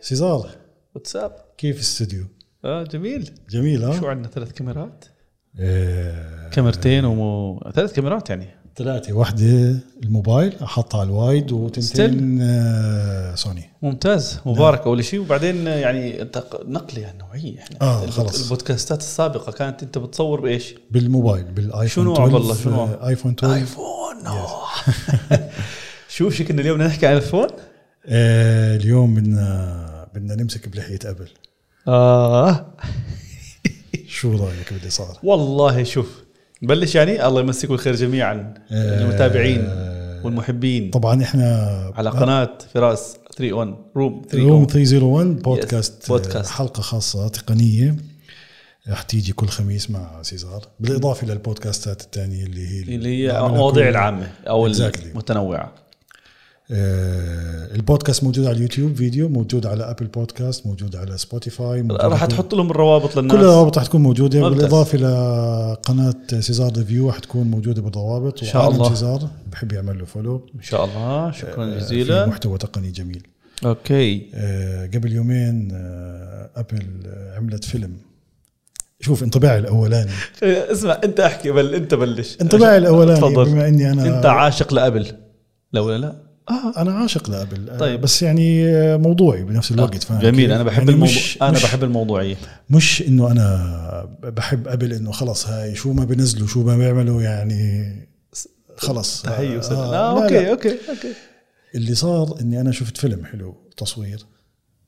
سيزار واتساب كيف الاستوديو؟ اه جميل جميل ها؟ شو عندنا ثلاث كاميرات آه، كاميرتين ومو ثلاث كاميرات يعني ثلاثة واحدة الموبايل احطها على الوايد وتنتين آه، سوني ممتاز مبارك اول شيء وبعدين يعني تق- نقله نوعيه احنا آه، البود- خلاص. البودكاستات السابقه كانت انت بتصور بايش؟ بالموبايل بالايفون شنو 12 والله، شنو؟ آه، ايفون 12 ايفون شو شكلنا اليوم نحكي عن الفون؟ آه، اليوم بدنا بدنا نمسك بلحية ابل آه. اه شو رايك باللي صار؟ والله شوف نبلش يعني الله يمسيكم الخير جميعا آه، المتابعين والمحبين طبعا احنا على آه، قناه فراس 3 اون روم 3 روم اون 301 بودكاست بودكاست. آه، حلقه خاصه تقنيه رح تيجي كل خميس مع سيزار بالاضافه للبودكاستات الثانيه اللي هي اللي هي بعملها المواضيع كل- العامه او Exactly. المتنوعه آه، البودكاست موجود على اليوتيوب فيديو موجود على ابل بودكاست موجود على سبوتيفاي موجود راح على- تحط لهم الروابط للناس كل الروابط رح تكون موجوده ممتاز. بالاضافه لقناه سيزار ريفيو رح تكون موجوده بالروابط إن شاء وعالم الله. سيزار بحب يعمل له فولو ان شاء الله شكرا آه، في جزيلا محتوى تقني جميل اوكي آه، قبل يومين آه، ابل آه، عملت فيلم شوف انطباعي الاولاني اسمع انت احكي بل انت بلش انطباعي الاولاني تفضل. بما اني انا انت عاشق لابل لا ولا لا انا عاشق لابل آه، طيب. آه. بس يعني آه، موضوعي بنفس الوقت فاهم جميل كيف؟ انا بحب يعني الموضوع مش انا مش آه، بحب الموضوعيه مش انه انا بحب ابل انه خلص هاي شو ما بنزلوا شو ما بيعملوا يعني خلص تحيه آه، وسلام آه، آه لا، اوكي لا. اوكي اوكي اللي صار اني انا شفت فيلم حلو تصوير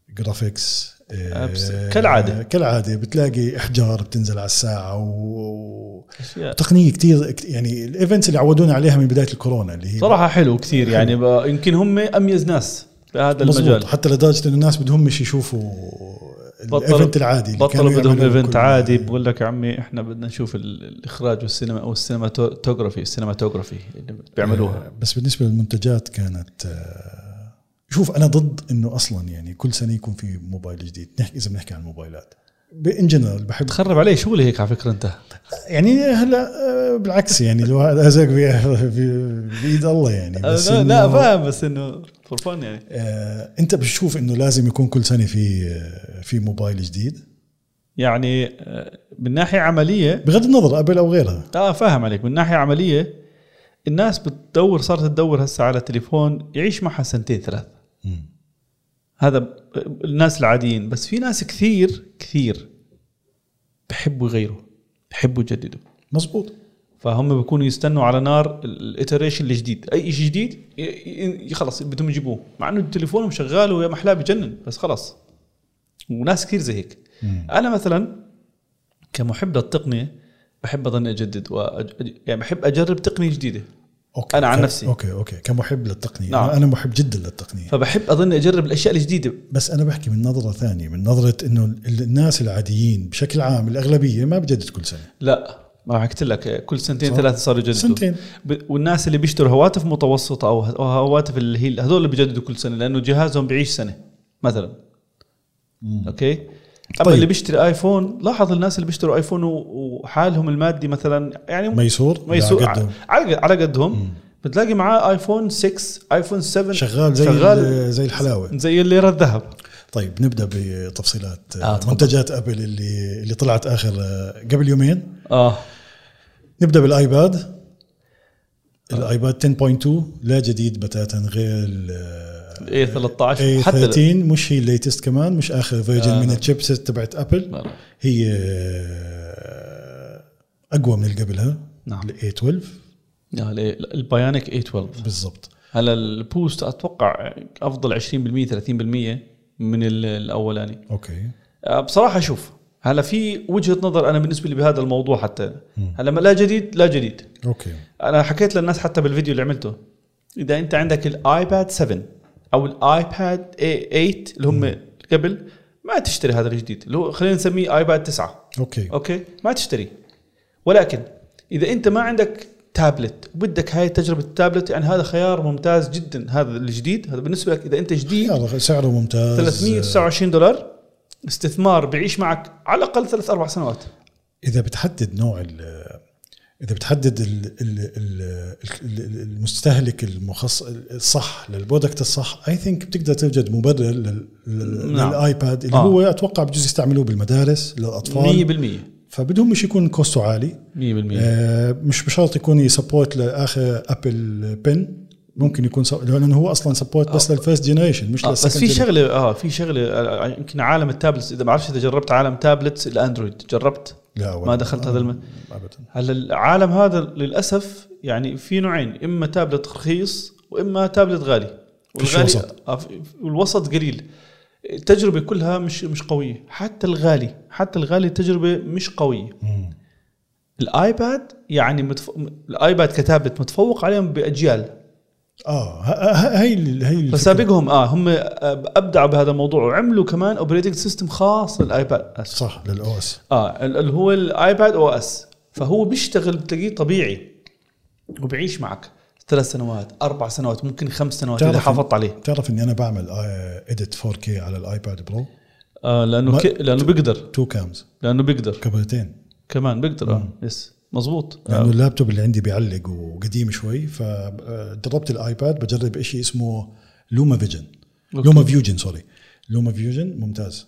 جرافيكس آه، أبس- كالعادة. كالعاده بتلاقي احجار بتنزل على الساعه و... أشياء. تقنيه كثير يعني الايفنتس اللي عودونا عليها من بدايه الكورونا اللي هي صراحه حلو كثير يعني ب- يمكن هم اميز ناس بهذا مزبوط. المجال حتى لدرجه انه الناس بدهمش يشوفوا الايفنت العادي اللي يعني كانوا بطلوا بدهم يعملوه ايفنت كل- عادي بقول لك يا عمي احنا بدنا نشوف ال- الاخراج والسينما او السينماتوجرافي السينماتوجرافي اللي بيعملوها آه، بس بالنسبه للمنتجات كانت آه، شوف انا ضد انه اصلا يعني كل سنه يكون في موبايل جديد نحكي اذا بنحكي عن الموبايلات بان جنرال بحب تخرب عليه شغلي هيك على فكره انت يعني هلا آه، بالعكس يعني الواحد رزق في- في- بايد الله يعني بس آه، لا, لا إنه- فاهم بس انه فور فن يعني آه، انت بتشوف انه لازم يكون كل سنه في آه، في موبايل جديد يعني آه، من ناحيه عمليه بغض النظر ابل او غيرها اه فاهم عليك من ناحيه عمليه الناس بتدور صارت تدور هسه على تليفون يعيش معها سنتين ثلاث مم. هذا ب- الناس العاديين بس في ناس كثير كثير بحبوا يغيروا بحبوا يجددوا مزبوط فهم بيكونوا يستنوا على نار الاتريشن الجديد اي شيء جديد ي- ي- خلص بدهم يجيبوه مع انه تليفونهم شغال ويا محلاه بجنن بس خلاص وناس كثير زي هيك مم. انا مثلا كمحب للتقنيه بحب اظن اجدد وأج... يعني بحب اجرب تقنيه جديده اوكي أنا عن ك- نفسي. اوكي اوكي كمحب للتقنيه نعم. نعم. انا محب جدا للتقنيه فبحب اظن اجرب الاشياء الجديده بس انا بحكي من نظره ثانيه من نظره انه ال- الناس العاديين بشكل عام الاغلبيه ما بجدد كل سنه لا ما حكيت لك كل سنتين صح. ثلاثه صاروا يجددوا سنتين. ب... والناس اللي بيشتروا هواتف متوسطه او أو هواتف اللي هي هذول اللي بيجددوا كل سنه لانه جهازهم بيعيش سنه مثلا اوكي اما طيب. اللي بيشتري ايفون لاحظ الناس اللي بيشتروا ايفون و- وحالهم المادي مثلا يعني ميسور ما يسوق لا، على قدهم. على على قدهم بتلاقي معاه ايفون 6 ايفون 7 شغال زي آه. شغال شغال زي الحلاوه زي الليره الذهب طيب نبدا بتفصيلات آه، آه تفضل. منتجات ابل اللي اللي طلعت اخر آه، قبل يومين اه نبدا آه. بالايباد الايباد 10.2 لا جديد بتاتا غير ال اي 13 اي حتى 30 إيه، مش هي الليتست كمان مش اخر فيرجن آه. نعم. من الشيبسيت تبعت ابل لا، لا. هي آه، اقوى من اللي قبلها نعم. ال A12 لا، لا، البايونيك 812 بالضبط هلا البوست اتوقع افضل 20% 30% من ال- الاولاني اوكي أه، بصراحه شوف هلا في وجهه نظر انا بالنسبه لي بهذا الموضوع حتى هلا ما- لا جديد لا جديد اوكي انا حكيت للناس حتى بالفيديو اللي عملته اذا انت عندك الايباد 7 او الايباد 8 اللي هم قبل ما تشتري هذا الجديد اللي هو خلينا نسميه ايباد 9 اوكي اوكي ما تشتري ولكن اذا انت ما عندك تابلت وبدك هاي تجربه التابلت يعني هذا خيار ممتاز جدا هذا الجديد هذا بالنسبه لك اذا انت جديد يلا، سعره ممتاز 329 دولار استثمار بيعيش معك على الاقل ثلاث اربع سنوات اذا بتحدد نوع ال- اذا بتحدد ال ال ال ال- ال- المستهلك المخص الصح للبرودكت الصح اي ثينك بتقدر توجد مبرر لل- لل- نعم. للايباد اللي آه. هو اتوقع بجوز يستعملوه بالمدارس للاطفال 100% فبدهم مش يكون كوستو عالي 100% آه، مش بشرط يكون يسبورت لاخر ابل بن ممكن يكون سو... لانه هو اصلا سبورت بس للفيرست جنريشن مش آه، للسكند بس في generation. شغله اه في شغله آه، يمكن عالم التابلتس اذا ما بعرفش اذا جربت عالم تابلتس الاندرويد جربت لا ولا- ما دخلت هذا الم... ابدا هلا العالم هذا للاسف يعني في نوعين اما تابلت رخيص واما تابلت غالي فيش وسط. آه، في- والوسط قليل التجربه كلها مش مش قويه حتى الغالي حتى الغالي التجربه مش قويه مم. الايباد يعني متف... الايباد كتابت متفوق عليهم باجيال اه ه- ه- هي ال- هي الفكرة. فسابقهم اه هم ابدعوا بهذا الموضوع وعملوا كمان اوبريتنج سيستم خاص للايباد آسف. صح للاو اس اه ال- اللي هو الايباد او اس فهو بيشتغل بتلاقيه طبيعي وبيعيش معك ثلاث سنوات اربع سنوات ممكن خمس سنوات اذا تعرف- حافظت عليه بتعرف اني انا بعمل اديت 4K على الايباد برو آه لانه ما- ك... لانه بيقدر تو كامز لانه بيقدر كاميرتين كمان بيقدر اه يس مزبوط لانه آه. اللابتوب اللي عندي بيعلق وقديم شوي آه، فدربت الايباد بجرب شيء اسمه لوما فيجن أوكي. لوما فيوجن سوري لوما فيوجن ممتاز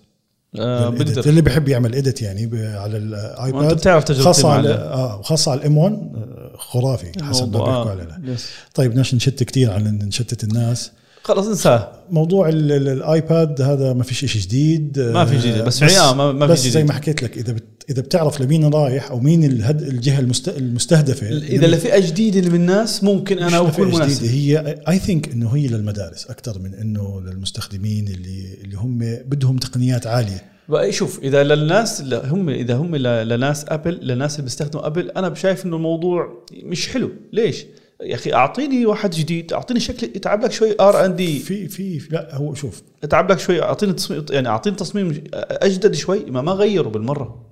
آه للإيديت. بيقدر اللي بيحب يعمل اديت يعني ب- على وأنت الايباد بتعرف تجربتي خاصه مع على ال- اه وخاصه على الام 1 خرافي حسب ما الموضوع، بيحكوا آه. عليه يس. طيب بدناش نشتت كثير عن إن نشتت الناس خلص انساه موضوع ال- ال- الايباد هذا ما فيش شيء جديد ما في جديد، بس فعليا آه، ما- ما في بس زي جديد. ما حكيت لك اذا بت اذا بتعرف لمين رايح او مين الهد الجهه المست المستهدفه اذا لفئه جديده من الناس ممكن مش انا لفئة اكون جديدة، مناسب هي اي ثينك انه هي للمدارس اكثر من انه للمستخدمين اللي اللي هم بدهم تقنيات عاليه بقى شوف اذا للناس لا، هم اذا هم ل- لناس ابل للناس اللي بيستخدموا ابل انا شايف انه الموضوع مش حلو ليش يا اخي اعطيني واحد جديد اعطيني شكل يتعب لك شوي ار ان دي في في لا هو شوف يتعب لك شوي اعطيني تصميم يعني اعطيني تصميم اجدد شوي ما ما غيروا بالمره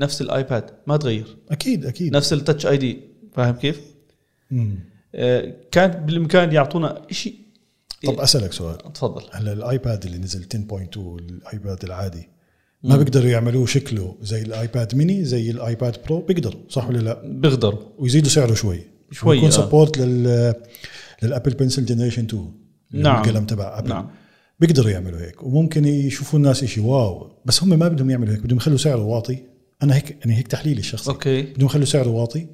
نفس الايباد ما تغير اكيد اكيد نفس التاتش اي دي فاهم كيف مم. آه، كان بالامكان يعطونا شيء طب إيه. اسالك سؤال تفضل هلا الايباد اللي نزل 10.2 الايباد العادي ما بيقدروا يعملوه شكله زي الايباد ميني زي الايباد برو بيقدروا صح ولا لا؟ بيقدروا ويزيدوا سعره شوي شوي، يكون آه. سبورت لل للابل بنسل جنريشن 2 اللي هو نعم. القلم تبع ابل نعم. بيقدروا يعملوا هيك وممكن يشوفوا الناس شيء واو بس هم ما بدهم يعملوا هيك بدهم يخلوا سعره واطي انا هيك انا هيك تحليلي الشخصي اوكي بدهم يخلوا سعره واطي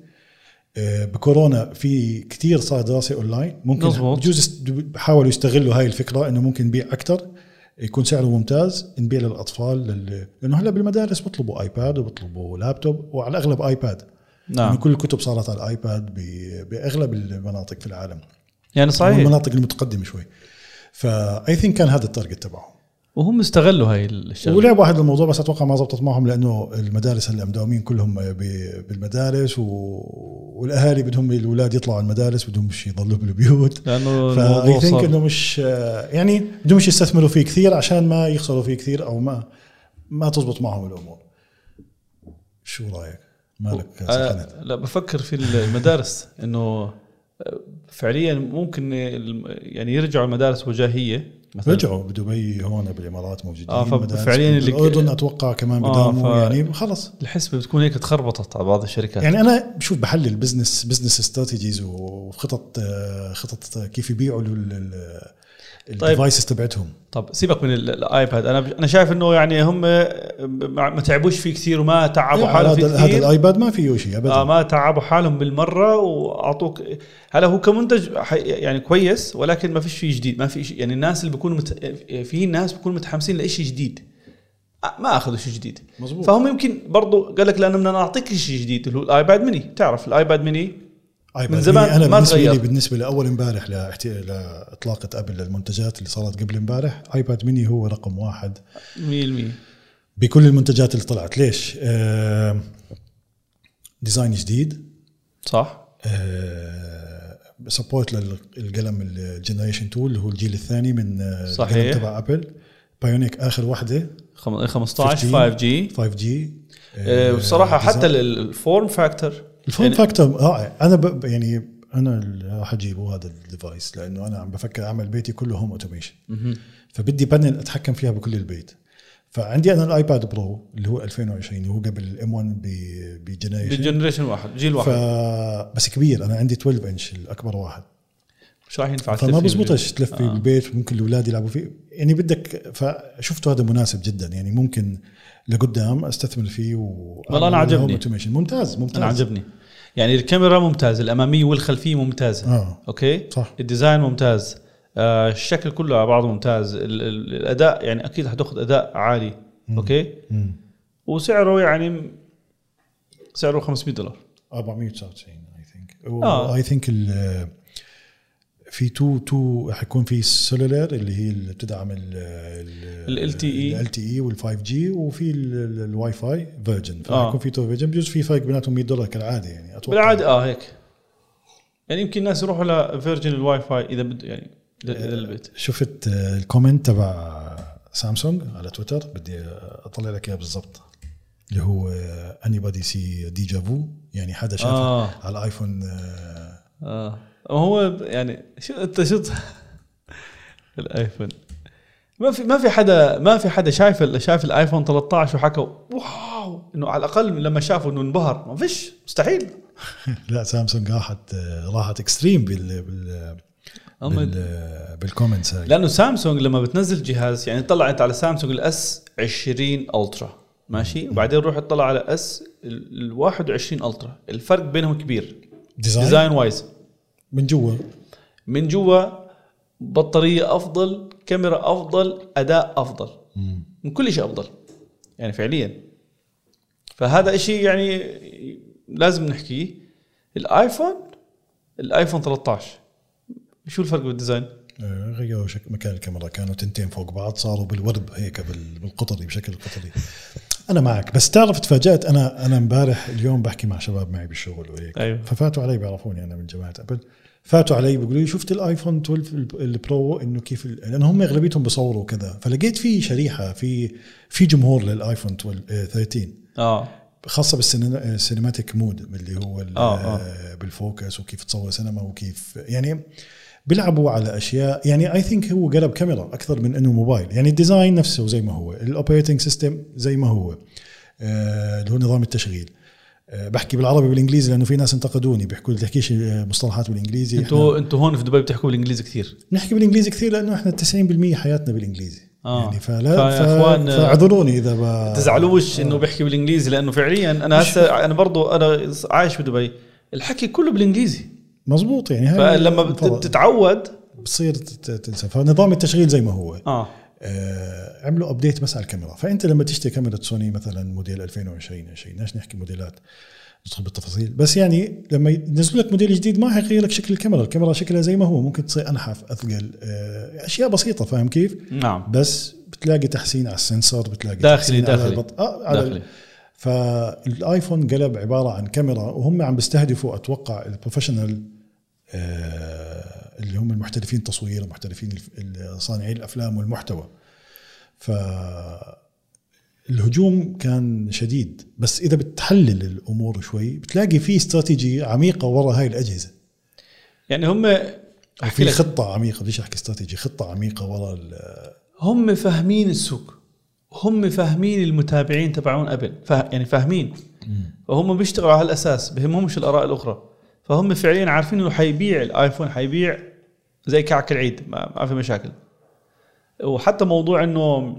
آه، بكورونا في كثير صار دراسه اونلاين ممكن مزبوط. بجوز است- حاولوا يستغلوا هاي الفكره انه ممكن نبيع اكثر يكون سعره ممتاز نبيع للاطفال لل... لانه هلا بالمدارس بيطلبوا ايباد وبيطلبوا لابتوب وعلى الاغلب ايباد نعم. يعني كل الكتب صارت على الايباد ب- باغلب المناطق في العالم يعني صحيح والمناطق المتقدمه شوي فاي ثينك كان هذا التارجت تبعهم وهم استغلوا هاي الشغله ولعبوا هذا الموضوع بس اتوقع ما زبطت معهم لانه المدارس هلا مداومين كلهم ب- بالمدارس و... والاهالي بدهم الاولاد يطلعوا على المدارس بدهم مش يضلوا بالبيوت لانه الموضوع فاي ثينك صار انه مش يعني بدهم مش يستثمروا فيه كثير عشان ما يخسروا فيه كثير او ما ما تزبط معهم الامور شو رايك؟ مالك سخنت أنا آه، لا بفكر في المدارس انه فعليا ممكن الم- يعني يرجعوا المدارس وجاهيه مثلا رجعوا بدبي هون بالامارات موجودين آه، آه فب- مدارس فعلياً اللي- الاردن اتوقع كمان آه، بداوموا ف- يعني خلص الحسبه بتكون هيك تخربطت على بعض الشركات يعني يعني انا بشوف بحلل بزنس بزنس استراتيجيز وخطط آه، خطط آه، كيف يبيعوا طيب. الديفايسز تبعتهم طب سيبك من ال- الايباد انا ب- انا شايف انه يعني هم ما ما تعبوش فيه كثير وما تعبوا هذا حالهم فيه أيوة، هذا كثير الايباد ما فيه شيء ابدا آه ما تعبوا حالهم بالمره واعطوك هلا هو كمنتج حي- يعني كويس ولكن ما فيش شيء جديد ما في شيء يعني الناس اللي بيكونوا مت... في ناس بيكونوا متحمسين لشيء جديد آه، ما اخذوا شيء جديد مزبوط. فهم يمكن برضو قال لك لانه بدنا نعطيك شيء جديد اللي هو الايباد ميني تعرف الايباد ميني iPad من زمان ميني انا ما بالنسبه تغير. لي بالنسبه لاول امبارح لاحت- لاطلاقه ابل للمنتجات اللي صارت قبل امبارح ايباد ميني هو رقم واحد 100% بكل المنتجات اللي طلعت ليش؟ آه، ديزاين جديد صح سبورت آه، للقلم الجنريشن 2 اللي هو الجيل الثاني من آه، صحيح. القلم تبع ابل بايونيك اخر واحده خم- 15 15 5 جي 5 جي آه، بصراحه آه، حتى ال- ال- الفورم فاكتور الفون يعني- فاكتور رائع انا آه، ب... يعني انا اللي راح اجيبه هذا الديفايس لانه انا عم بفكر اعمل بيتي كله هوم اوتوميشن فبدي بانل اتحكم فيها بكل البيت فعندي انا الايباد برو اللي هو 2020 هو قبل الام 1 بجنريشن بالجنريشن واحد جيل ف واحد بس كبير انا عندي 12 انش الاكبر واحد مش راح فما ينفع تلف فيه آه. بزبطش بالبيت. تلف فيه بالبيت ممكن الاولاد يلعبوا فيه يعني بدك فشفته هذا مناسب جدا يعني ممكن لقدام استثمر فيه و والله أنا أعمل له عجبني. home automation. ممتاز ممتاز انا عجبني يعني الكاميرا ممتازه الاماميه والخلفيه ممتازه اه اوكي صح الديزاين ممتاز آه الشكل كله على بعضه ممتاز ال- ال- الاداء يعني اكيد حتاخذ اداء عالي مم. اوكي مم. وسعره يعني سعره 500 دولار 499 اي ثينك آه. اي ثينك في تو تو حيكون في السلولار اللي هي اللي بتدعم ال ال E. LTE. ال تي اي وال 5 جي وفي الواي فاي فيرجن آه. فحيكون في تو فيرجن بجوز في فرق بيناتهم 100 دولار كالعاده يعني اتوقع بالعاده اه هيك يعني يمكن الناس يروحوا لفيرجن الواي فاي اذا بده يعني إذا- اذا البيت شفت آه، الكومنت تبع سامسونج على تويتر بدي اطلع لك اياه بالضبط اللي هو آه، اني بادي سي ديجا فو يعني حدا شافها آه. على الايفون آه، اه هو يعني شو انت شو الايفون ما في ما في حدا ما في حدا شايف ال- شايف الايفون 13 وحكى واو انه على الاقل لما شافوا انه انبهر ما فيش مستحيل لا سامسونج راحت آه، راحت اكستريم بال بال أما- بال بالكومنتس هاي لانه سامسونج لما بتنزل جهاز يعني طلع انت على سامسونج الاس 20 الترا ماشي وبعدين روح اطلع على اس ال 21 الترا الفرق بينهم كبير ديزاين ديزاين وايز من جوا من جوا بطاريه افضل كاميرا افضل اداء افضل من كل شيء افضل يعني فعليا فهذا شيء يعني لازم نحكيه الايفون الايفون 13 شو الفرق بالديزاين؟ آه، غيروا شك مكان الكاميرا كانوا تنتين فوق بعض صاروا بالورب هيك بال- بالقطري بشكل قطري انا معك بس تعرف تفاجات انا انا امبارح اليوم بحكي مع شباب معي بالشغل وهيك أيوة. ففاتوا علي بيعرفوني انا من جماعه ابل فاتوا علي بيقولوا لي شفت الايفون 12 ال- البرو انه كيف ال- لان هم اغلبيتهم بصوروا كذا فلقيت في شريحه في في جمهور للايفون 12 آه، 13 اه خاصه بالسينماتيك مود اللي هو ال- آه، آه. آه، بالفوكس وكيف تصور سينما وكيف يعني بيلعبوا على اشياء يعني اي ثينك هو قلب كاميرا اكثر من انه موبايل يعني الديزاين نفسه زي ما هو الاوبريتنج سيستم زي ما هو آه، اللي هو نظام التشغيل آه، بحكي بالعربي بالانجليزي لانه في ناس انتقدوني بيحكوا لي تحكيش آه، مصطلحات بالانجليزي انتوا انتوا هون في دبي بتحكوا بالانجليزي كثير إحنا نحكي بالانجليزي كثير لانه احنا 90% حياتنا بالانجليزي آه. يعني فيا فلا ف- إخوان، آه، فاعذروني اذا ب... تزعلوش انه بيحكي بالانجليزي لانه فعليا انا هسه انا برضو انا عايش بدبي الحكي كله بالانجليزي مزبوط يعني هاي فلما تفضل. بت- بتتعود بتصير تت- تنسى فنظام التشغيل زي ما هو اه آه عملوا ابديت بس على الكاميرا فانت لما تشتري كاميرا سوني مثلا موديل 2020 20 ليش نحكي موديلات ندخل بالتفاصيل بس يعني لما ينزلوا لك موديل جديد ما حيغير لك شكل الكاميرا الكاميرا شكلها زي ما هو ممكن تصير انحف اثقل آه اشياء بسيطه فاهم كيف نعم بس بتلاقي تحسين على السنسور بتلاقي داخلي- تحسين على داخلي. البط... آه على داخلي داخلي. فالايفون قلب عباره عن كاميرا وهم عم بيستهدفوا اتوقع البروفيشنال آه، اللي هم المحترفين التصوير ومحترفين الف- ال- صانعي الافلام والمحتوى ف الهجوم كان شديد بس اذا بتحلل الامور شوي بتلاقي في استراتيجيه عميقه ورا هاي الاجهزه يعني هم احكي في لك خطه عميقه بديش احكي استراتيجي خطه عميقه ورا ال- هم فاهمين السوق هم فاهمين المتابعين تبعون ابل فا يعني فاهمين فهم بيشتغلوا على هالاساس بهمهمش الاراء الاخرى فهم فعليا عارفين انه حيبيع الايفون حيبيع زي كعك العيد ما, ما في مشاكل وحتى موضوع انه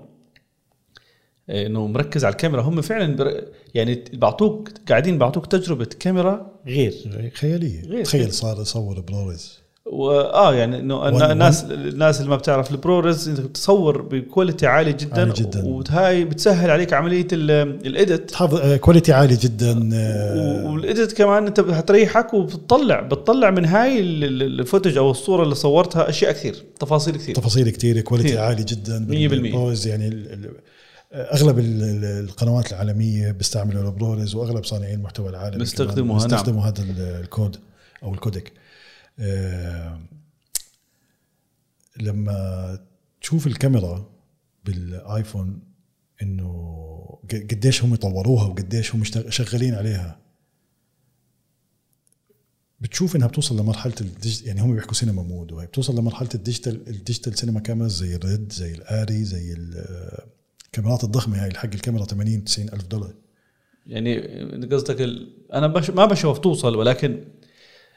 انه مركز على الكاميرا هم فعلا بر... يعني بعطوك قاعدين بعطوك تجربه كاميرا غير خياليه غير. تخيل صار يصور بلوريز واه يعني انه وان- النا- الناس الناس اللي ما بتعرف البرورز انت بتصور بكواليتي عالي جدا عالي جدا. وهاي بتسهل عليك عمليه الايديت حافظ آه، كواليتي عالي جدا آه، والايديت كمان انت هتريحك وبتطلع بتطلع من هاي ال- ال- الفوتج او الصوره اللي صورتها اشياء كثير تفاصيل كثير تفاصيل كثيره كواليتي كتير. عالي جدا 100%. بالبروز يعني ال- ال- اغلب ال- ال- القنوات العالميه بيستعملوا البروز واغلب صانعي المحتوى العالمي بيستخدموها، نعم. بيستخدموا هذا ال- الكود او الكودك آه، لما تشوف الكاميرا بالايفون انه ق- قديش هم طوروها وقديش هم اشتغ- شغالين عليها بتشوف انها بتوصل لمرحله الديج... يعني هم بيحكوا سينما مود وهي بتوصل لمرحله الديجيتال الديجيتال سينما كاميرا زي الريد زي الاري زي ال- الكاميرات الضخمه هاي حق الكاميرا 80 90 الف دولار يعني قصدك ال... انا بش... ما بشوف توصل ولكن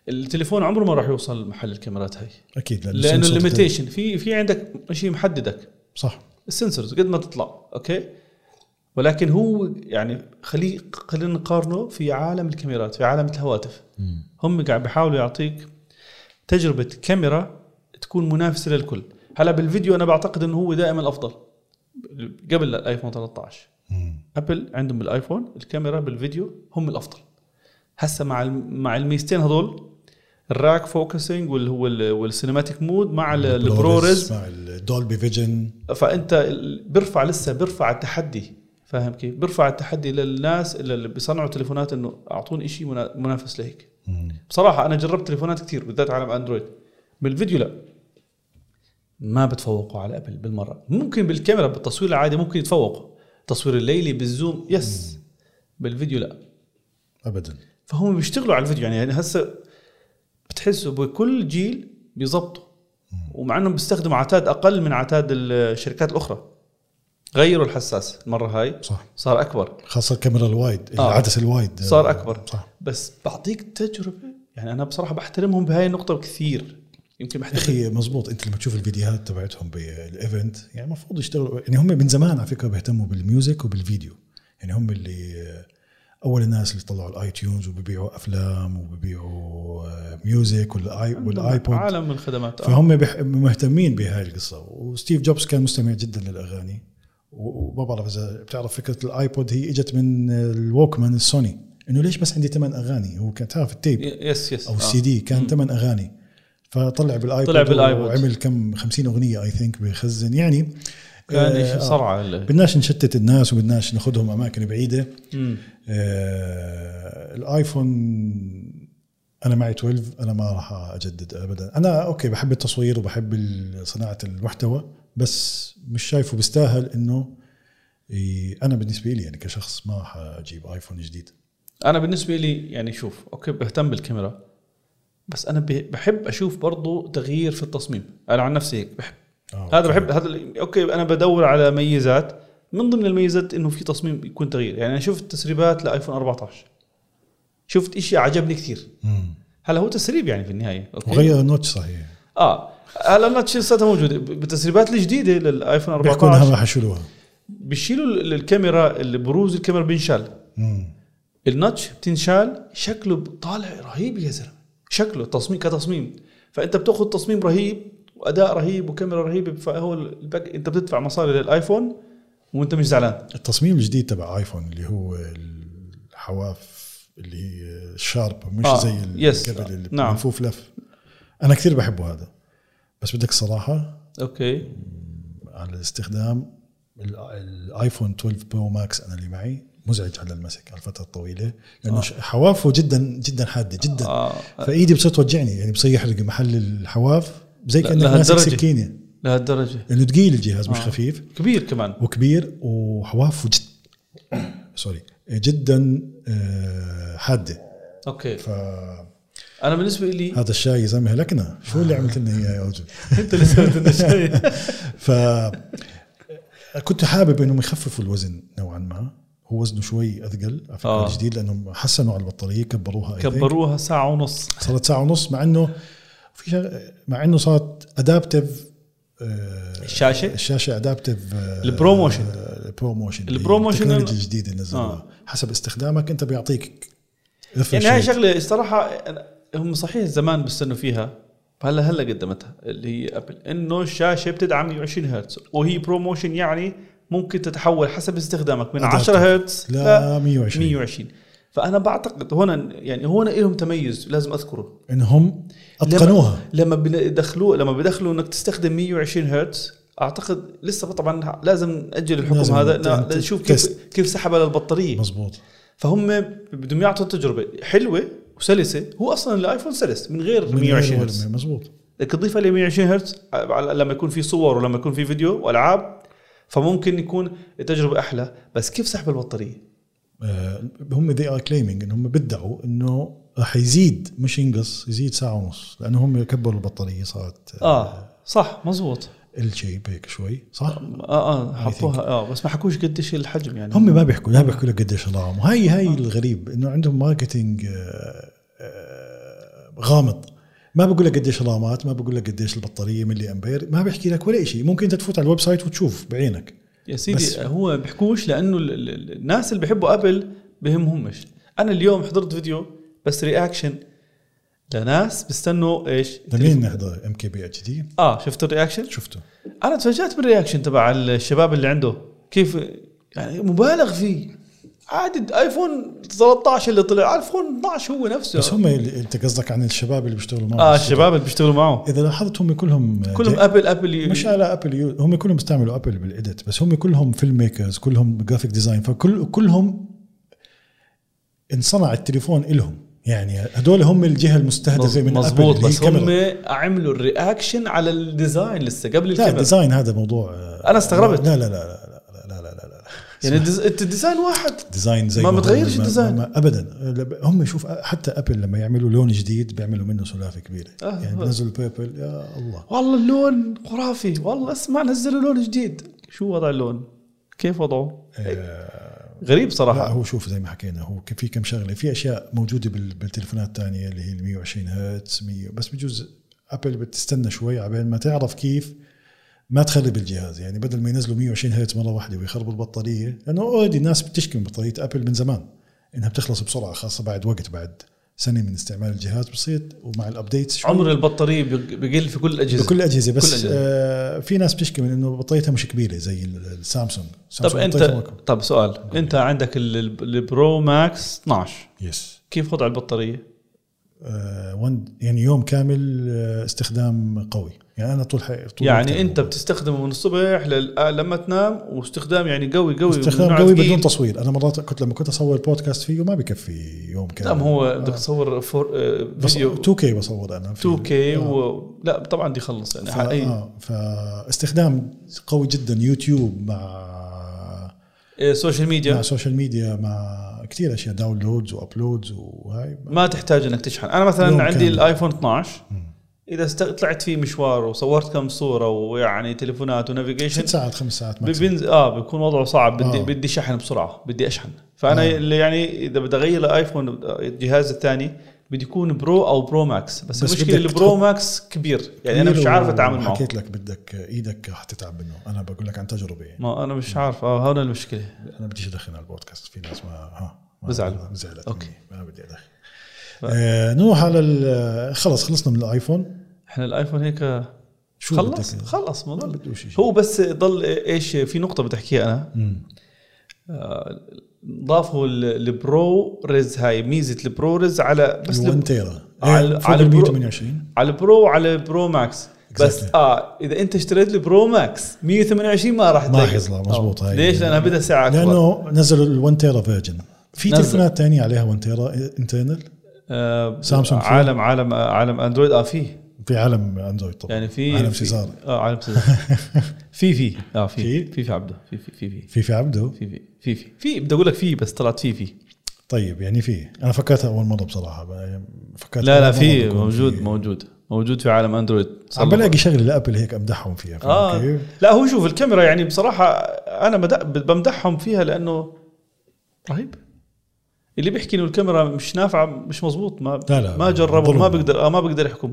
التليفون عمره ما راح يوصل محل الكاميرات هاي اكيد لانه السنسور بتاعي- الليميتيشن في في عندك شيء محددك صح السنسورز قد ما تطلع اوكي ولكن هو يعني خليه خلينا نقارنه في عالم الكاميرات في عالم الهواتف هم قاعد بيحاولوا يعطيك تجربه كاميرا تكون منافسه للكل هلا بالفيديو انا بعتقد انه هو دائما الافضل قبل الايفون 13 مم. ابل عندهم بالايفون الكاميرا بالفيديو هم الافضل هسه مع الم- مع الميزتين هذول الراك فوكسنج واللي هو ال- والسينماتيك مود مع ال- البرورز مع الدولبي فيجن فانت ال- بيرفع لسه بيرفع التحدي فاهم كيف؟ بيرفع التحدي للناس اللي اللي بيصنعوا تليفونات انه اعطوني شيء منا- منافس لهيك بصراحه انا جربت تليفونات كثير بالذات عالم اندرويد بالفيديو لا ما بتفوقوا على ابل بالمره ممكن بالكاميرا بالتصوير العادي ممكن يتفوقوا التصوير الليلي بالزوم يس بالفيديو لا ابدا فهم بيشتغلوا على الفيديو يعني, يعني هسه بتحسوا بكل جيل بيظبطوا ومع انهم بيستخدموا عتاد اقل من عتاد الشركات الاخرى غيروا الحساس المره هاي صح صار اكبر خاصه الكاميرا الوايد آه. العدسه الوايد صار أكبر. صح بس بعطيك تجربه يعني انا بصراحه بحترمهم بهاي النقطه كثير يمكن يا بحترم اخي مزبوط انت لما تشوف الفيديوهات تبعتهم بالايفنت يعني المفروض يشتغلوا يعني هم من زمان على فكره بيهتموا بالميوزك وبالفيديو يعني هم اللي آه، اول الناس اللي طلعوا الاي تيونز وبيبيعوا افلام وبيبيعوا آه، ميوزك والآي والايبود عالم الخدمات آه. فهم بح- مهتمين بهاي القصه وستيف جوبز كان مستمع جدا للاغاني و- وما بعرف اذا بتعرف فكره الايبود هي اجت من الووكمان السوني انه ليش بس عندي ثمان اغاني هو كان تعرف التيب ي- يس يس او السي دي كان ثمان اغاني فطلع بالايبود آه. طلع بالآيبود. وعمل كم 50 اغنيه اي ثينك بخزن يعني كان آه، شيء صرعه ال- بدناش نشتت الناس وبدناش ناخذهم اماكن بعيده مم. آه، الايفون انا معي 12 انا ما راح اجدد ابدا انا اوكي بحب التصوير وبحب ال- صناعه المحتوى بس مش شايفه بيستاهل انه ي- انا بالنسبه لي يعني كشخص ما راح اجيب ايفون جديد انا بالنسبه لي يعني شوف اوكي بهتم بالكاميرا بس انا ب- بحب اشوف برضو تغيير في التصميم انا عن نفسي هيك بحب آه، هذا أوكي. بحب هذا ال- اوكي انا بدور على ميزات من ضمن الميزات انه في تصميم يكون تغيير يعني انا شفت تسريبات لايفون 14 شفت إشي عجبني كثير مم. هلا هو تسريب يعني في النهايه اوكي وغير النوتش صحيح اه هلا النتش لساتها موجوده ب- بالتسريبات الجديده للايفون بيحكوا انها 14 راح يشيلوها بيشيلوا ال- الكاميرا اللي بروز الكاميرا بينشال مم. النتش بتنشال شكله طالع رهيب يا زلمه شكله تصميم كتصميم فانت بتاخذ تصميم رهيب واداء رهيب وكاميرا رهيبه فهو الباك انت بتدفع مصاري للايفون وانت مش زعلان التصميم الجديد تبع ايفون اللي هو الحواف اللي هي شارب مش آه، آه. زي ال- يس. قبل اللي نعم. منفوف لف انا كثير بحبه هذا بس بدك صراحه اوكي على الاستخدام ال- الايفون 12 برو ماكس انا اللي معي مزعج على المسك على الفتره الطويله لانه آه. حوافه جدا جدا حاده جدا آه. اه فايدي بصير توجعني يعني بصير يحرق محل الحواف زي لا- كانك ماسك لهالدرجة. سكينه لهالدرجه لانه ثقيل الجهاز مش آه. خفيف كبير كمان وكبير وحوافه جد سوري جدا آه، حاده اوكي فهذا انا بالنسبه لي الشاي يا زلمه هلكنا شو اللي عملت لنا اياه يا رجل انت اللي سويت لنا شيء ف كنت حابب انهم يخففوا الوزن نوعا ما هو وزنه شوي اثقل على فكره آه. الجديد لانهم حسنوا على البطاريه كبروها I think. كبروها ساعه ونص صارت ساعه ونص مع انه في شغ... مع انه صارت آه، ادابتيف الشاشه الشاشه ادابتيف البروموشن. آه، البروموشن البروموشن التكنولوجيا إنه- الجديده اللي نزلوها آه. حسب استخدامك انت بيعطيك يعني هاي refresh rate. شغله الصراحه أنا- هم صحيح زمان بستنوا فيها هلا هلا قدمتها اللي هي ابل انه الشاشه بتدعم 120 هرتز وهي بروموشن يعني ممكن تتحول حسب استخدامك من Adaptive. 10 هرتز لا 120 120 فانا بعتقد هنا يعني هون لهم تميز لازم اذكره انهم اتقنوها لما بيدخلوه لما بيدخلوا انك تستخدم 120 هرتز اعتقد لسه طبعا لازم ناجل الحكم لازم هذا ت- لا- ت- نشوف كيف تست. كيف سحب على البطاريه مزبوط فهم بدهم يعطوا تجربه حلوه وسلسه هو اصلا الايفون سلس من غير من 120 غير هرتز ولا- مزبوط بدك تضيفها ل 120 هرتز على- لما يكون في صور ولما يكون في فيديو والعاب فممكن يكون التجربه احلى بس كيف سحب البطاريه آه، هم ذي ار كليمينج انهم بدعوا انه راح يزيد آه. آه. مش ينقص يزيد ساعه ونص لانه هم كبروا البطاريه صارت اه صح مزبوط الشيب هيك شوي صح؟ اه اه حطوها اه بس ما حكوش قديش الحجم يعني هم ما بيحكوا لا بيحكوا لك قديش الرقم وهي هاي الغريب انه عندهم ماركتينج آه، آه، غامض ما بقول لك قديش الرامات ما بقول لك قديش البطاريه ملي امبير ما بيحكي لك ولا شيء ممكن انت تفوت على الويب سايت وتشوف بعينك يا سيدي بس- هو بيحكوش لانه ال- ال- ال- الناس اللي بيحبوا ابل بهمهمش انا اليوم حضرت فيديو بس رياكشن لناس بيستنوا ايش لمين نحضر ام كي بي اتش دي اه شفت الرياكشن شفته انا تفاجات بالرياكشن تبع الشباب اللي عنده كيف يعني مبالغ فيه عادي ايفون 13 اللي طلع ايفون 12 هو نفسه بس هم اللي انت قصدك عن الشباب اللي بيشتغلوا معه اه الشباب اللي بيشتغلوا معه اذا لاحظت هم كلهم كلهم ابل ابل ي- مش على ابل يو... هم كلهم استعملوا ابل بالاديت بس هم كلهم فيلم ميكرز كلهم جرافيك ديزاين فكل كلهم انصنع التليفون إلهم يعني هدول هم الجهه المستهدفه من مظبوط أبل بس هم عملوا الرياكشن على الديزاين لسه قبل لا الكاميرا الديزاين هذا موضوع آه، أنا استغربت. لا لا لا لا لا لا لا لا, لا. يعني الديز- الت- الديزاين واحد ديزاين زي ما هو، بتغيرش الديزاين. ما ابدا هم شوف حتى ابل لما يعملوا لون جديد بيعملوا منه سلافه كبيره آه، يعني آه. بنزلوا البيربل يا الله والله اللون خرافي والله اسمع نزلوا لون جديد شو وضع اللون كيف وضعه آه، غريب لا صراحه هو شوف زي ما حكينا هو ك- في كم شغله في اشياء موجوده بال- بالتليفونات الثانيه اللي هي ال 120 هرتز 100 بس بجوز ابل بتستنى شوي عبين ما تعرف كيف ما تخرب الجهاز يعني بدل ما ينزلوا 120 هرتز مره واحده ويخربوا البطاريه لانه اوريدي الناس بتشكي من بطاريه ابل من زمان انها بتخلص بسرعه خاصه بعد وقت بعد سنه من استعمال الجهاز بصير ومع الابديتس شوي عمر البطاريه بيق- بيقل في كل الاجهزه بكل الاجهزه بس كل الأجهزة. آه في ناس بتشكي من انه بطاريتها مش كبيره زي ال- السامسونج طب سامسونج انت بطاريتها مكبرة. طب سؤال انت عندك ال- ال- البرو ماكس 12 يس كيف وضع البطاريه؟ آه، وان- يعني يوم كامل آه، استخدام قوي يعني انا طول حي... طول يعني الوقت انت أنا- بتستخدمه من الصبح لل- آه، لما تنام واستخدام يعني قوي قوي استخدام ممنوع قوي ثقيل. بدون تصوير انا مرات كنت لما كنت اصور بودكاست فيه ما بكفي يوم كامل لا ما نعم، هو بدك تصور فور آه، فيديو 2 كي بصور انا 2 كي و... لا طبعا دي خلص يعني آه. ف... حقيقي آه فاستخدام قوي جدا يوتيوب مع آه، سوشيال مع ميديا سوشيال ميديا مع كثير اشياء داونلودز وابلودز وهاي ما تحتاج انك تشحن انا يوم مثلا عندي كامل. الايفون 12 مم. اذا است... طلعت فيه مشوار وصورت كم صوره ويعني تليفونات ونافيجيشن ست ساعات خمس ساعات ب- ماكسيموم. بينز... اه بيكون وضعه صعب بدي آه. آه. بدي شحن بسرعه بدي اشحن فانا آه. آه. يعني اذا بدي اغير الايفون الجهاز الثاني بدي يكون برو او برو ماكس بس, بس بس المشكله بدك البرو تحط- ماكس كبير يعني انا مش عارف اتعامل معه حكيت لك بدك ايدك رح تتعب منه انا بقول لك عن تجربه يعني. ما انا مش عارف اه هون المشكله انا بديش ادخن على البودكاست في ناس ما ها ما- بزعلوا. زعلت أوكي. مني. ما بدي ادخن ف- آه نروح على ال- خلص خلصنا من الايفون احنا الايفون هيك شو خلص بدك؟ خلص ما ما ضل بدوش شيء هو بس ضل ايش في نقطه بدي احكيها انا مم. آه، ضافوا ال- البرو ريز هاي ميزه البرو ريز على بس ال 1 الب... تيرا على- على فوق على ال البرو- 128 على البرو وعلى البرو ماكس بس Exactly. اه اذا انت اشتريت البرو ماكس 128 ما راح ما تلاقي. حيطلع، مزبوط، آه. هاي- يعني ليش؟ لانها بدها ساعه اكبر لانه لانه نزلوا ال 1 تيرا فيرجن في نزل. تليفونات ثانيه عليها 1 تيرا انترنال آه سامسونج فيه. عالم عالم آه، عالم اندرويد اه فيه في عالم اندرويد طبعا يعني في عالم في- سيزار اه عالم سيزار في في اه في في؟ في في عبده في في في في في في عبده في في في في في بدي اقول لك في بس طلعت في في طيب يعني في انا فكرتها اول مره بصراحه يعني فكرت لا لا أول مرة في بكون موجود في- موجود موجود في عالم اندرويد عم بلاقي شغله لابل هيك امدحهم فيها فاهم اه كيف؟ لا هو شوف الكاميرا يعني بصراحه انا مد- بمدحهم فيها لانه رهيب اللي بيحكي انه الكاميرا مش نافعه مش مزبوط ما لا لا، ما جربوا ما ظلم. بقدر آه ما بقدر احكم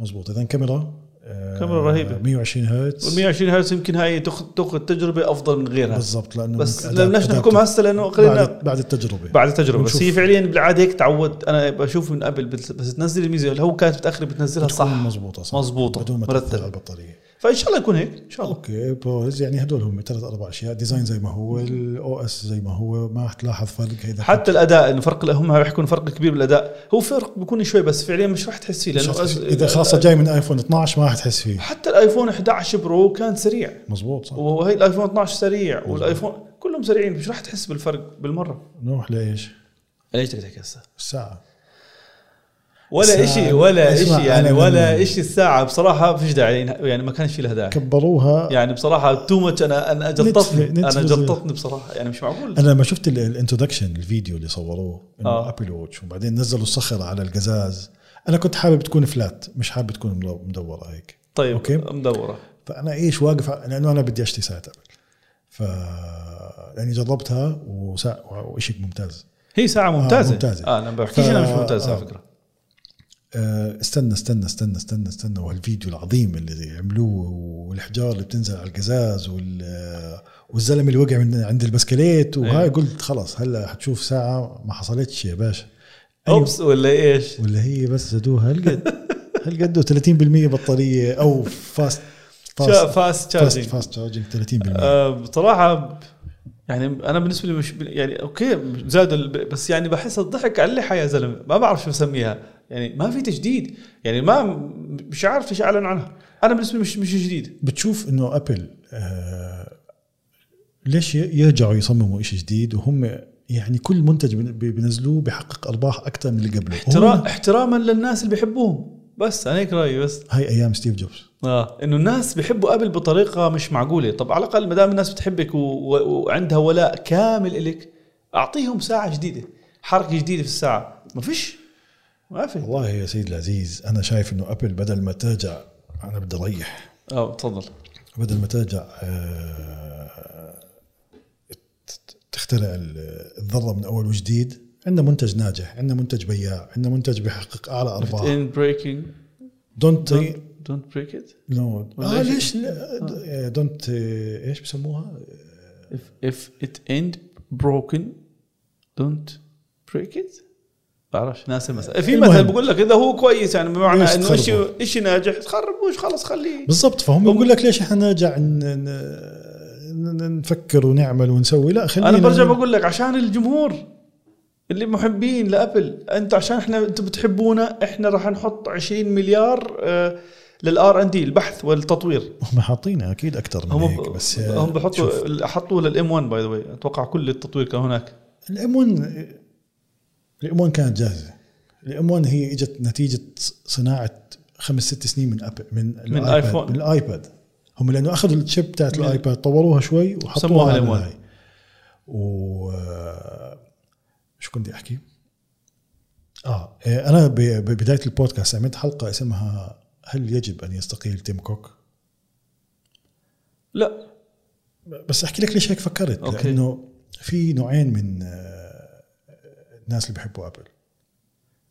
مزبوط اذا كاميرا آه، كاميرا رهيبة. 120 وال هرتز 120 هرتز يمكن هاي تاخذ تاخذ تجربه افضل من غيرها بالضبط لانه بس أداء- بدناش أداء نحكم هسه لانه خلينا بعد بعد التجربه بعد التجربه بس ونشوف. هي فعليا بالعاده هيك تعودت انا بشوف من قبل بت- بس تنزل الميزه هل هو كانت متاخر بتنزلها بتكون صح مزبوطه صح مزبوطة، بدون ما تاثر مرتبة. على البطاريه فان شاء الله يكون هيك ان شاء الله اوكي بروز يعني هدول هم ثلاث اربع اشياء ديزاين زي ما هو الاو اس زي ما هو ما راح تلاحظ فرق اذا حتى الاداء انه فرق هم بيحكوا إنه فرق كبير بالاداء هو فرق بيكون شوي بس فعليا مش راح تحس فيه مش لانه راح تحس- أز- اذا خاصه جاي من ايفون 12 ما راح تحس فيه حتى الايفون 11 برو كان سريع مزبوط صح وهي الايفون 12 سريع والايفون كلهم سريعين مش راح تحس بالفرق بالمره نروح لايش؟ ليش بدك تحكي هسه؟ الساعه ولا الساعة- شيء ولا اسمع، شيء يعني أنا ولا لما- شيء الساعه بصراحه فيش داعي يعني ما كانش في لها داعي كبروها يعني بصراحه تو ماتش انا انا جلطتني نتفلي- انا نتفلي. جلطتني بصراحه يعني مش معقول انا لما شفت الانترودكشن الفيديو اللي صوروه انه آه. ابل ووتش وبعدين نزلوا الصخره على القزاز انا كنت حابب تكون فلات مش حابب تكون ملو- مدوره هيك طيب أوكي. مدوره فانا ايش واقف ع- لانه انا بدي اشتري ساعه ابل ف لاني جربتها وسا... وشيء ممتاز هي ساعه ممتازه آه، ممتازة. اه انا ما بحكيش انا مش ف- ممتازه على آه. فكره آه، استنى استنى استنى استنى استنى وهالفيديو العظيم اللي عملوه والحجار اللي بتنزل على القزاز وال آه، والزلمه اللي وقع من عند البسكليت وهاي أيوة. قلت خلاص هلا حتشوف ساعه ما حصلتش يا باشا أيوة. اوبس ولا ايش؟ ولا هي بس زادوها هالقد هالقد و30% بطاريه او فاست شا- فاست فاست فاست, تشارجنج فاست تشارجنج 30% آه، بصراحه ب- يعني انا بالنسبه لي مش يعني اوكي زادوا الب- بس يعني بحس الضحك على اللحى يا زلمه ما بعرف شو اسميها يعني ما في تجديد يعني ما مش عارف ايش اعلن عنها انا بالنسبه لي مش مش جديد بتشوف انه ابل آه ليش ي- يرجعوا يصمموا شيء جديد وهم يعني كل منتج بن- بي- بينزلوه بيحقق ارباح اكثر من اللي قبله احترا... هم- احتراما للناس اللي بيحبوهم بس انا هيك رايي بس هاي ايام ستيف جوبز اه آه. انه الناس بيحبوا ابل بطريقه مش معقوله طب على الاقل ما دام الناس بتحبك و... و... وعندها ولاء كامل إلك اعطيهم ساعه جديده حركه جديده في الساعه ما فيش ما في والله يا سيد العزيز انا شايف انه ابل بدل ما ترجع انا بدي اريح اه تفضل بدل ما ترجع آه، ت- تخترع ال- الذره من اول وجديد عندنا منتج ناجح عندنا منتج بياع عندنا منتج بيحقق اعلى ارباح in breaking دونت don't, don't break it نو ولا آه إيش؟ ليش آه، دونت ايش بسموها if if it ain't broken don't break it بعرفش ناسي المثل في المهم. مثل بقول لك اذا هو كويس يعني بمعنى ليش انه تخربه؟ شيء شيء ناجح تخربوش خلص خليه بالضبط فهم بقول لك ليش احنا نرجع ن- ن- نفكر ونعمل ونسوي لا خلينا انا برجع بقول لك عشان الجمهور اللي محبين لابل انت عشان احنا انتم بتحبونا احنا راح نحط 20 مليار للار ان دي البحث والتطوير هم حاطين اكيد اكثر من هم هيك بس آه، هم شوف، بحطوا حطوا للام 1 باي ذا واي اتوقع كل التطوير كان هناك الام 1 الام 1 كانت جاهزه الام 1 هي اجت نتيجه صناعه خمس ست سنين من أب من الآيفون. من الايباد هم لانه اخذوا الشيب بتاعت من- الايباد طوروها شوي سموها وحطوها على الام 1. هاي و آه، شو كنت بدي احكي؟ اه آه، انا ب- ببدايه البودكاست عملت حلقه اسمها هل يجب ان يستقيل تيم كوك؟ لا بس احكي لك ليش هيك فكرت أوكي. لانه في نوعين من آه، الناس اللي بحبوا ابل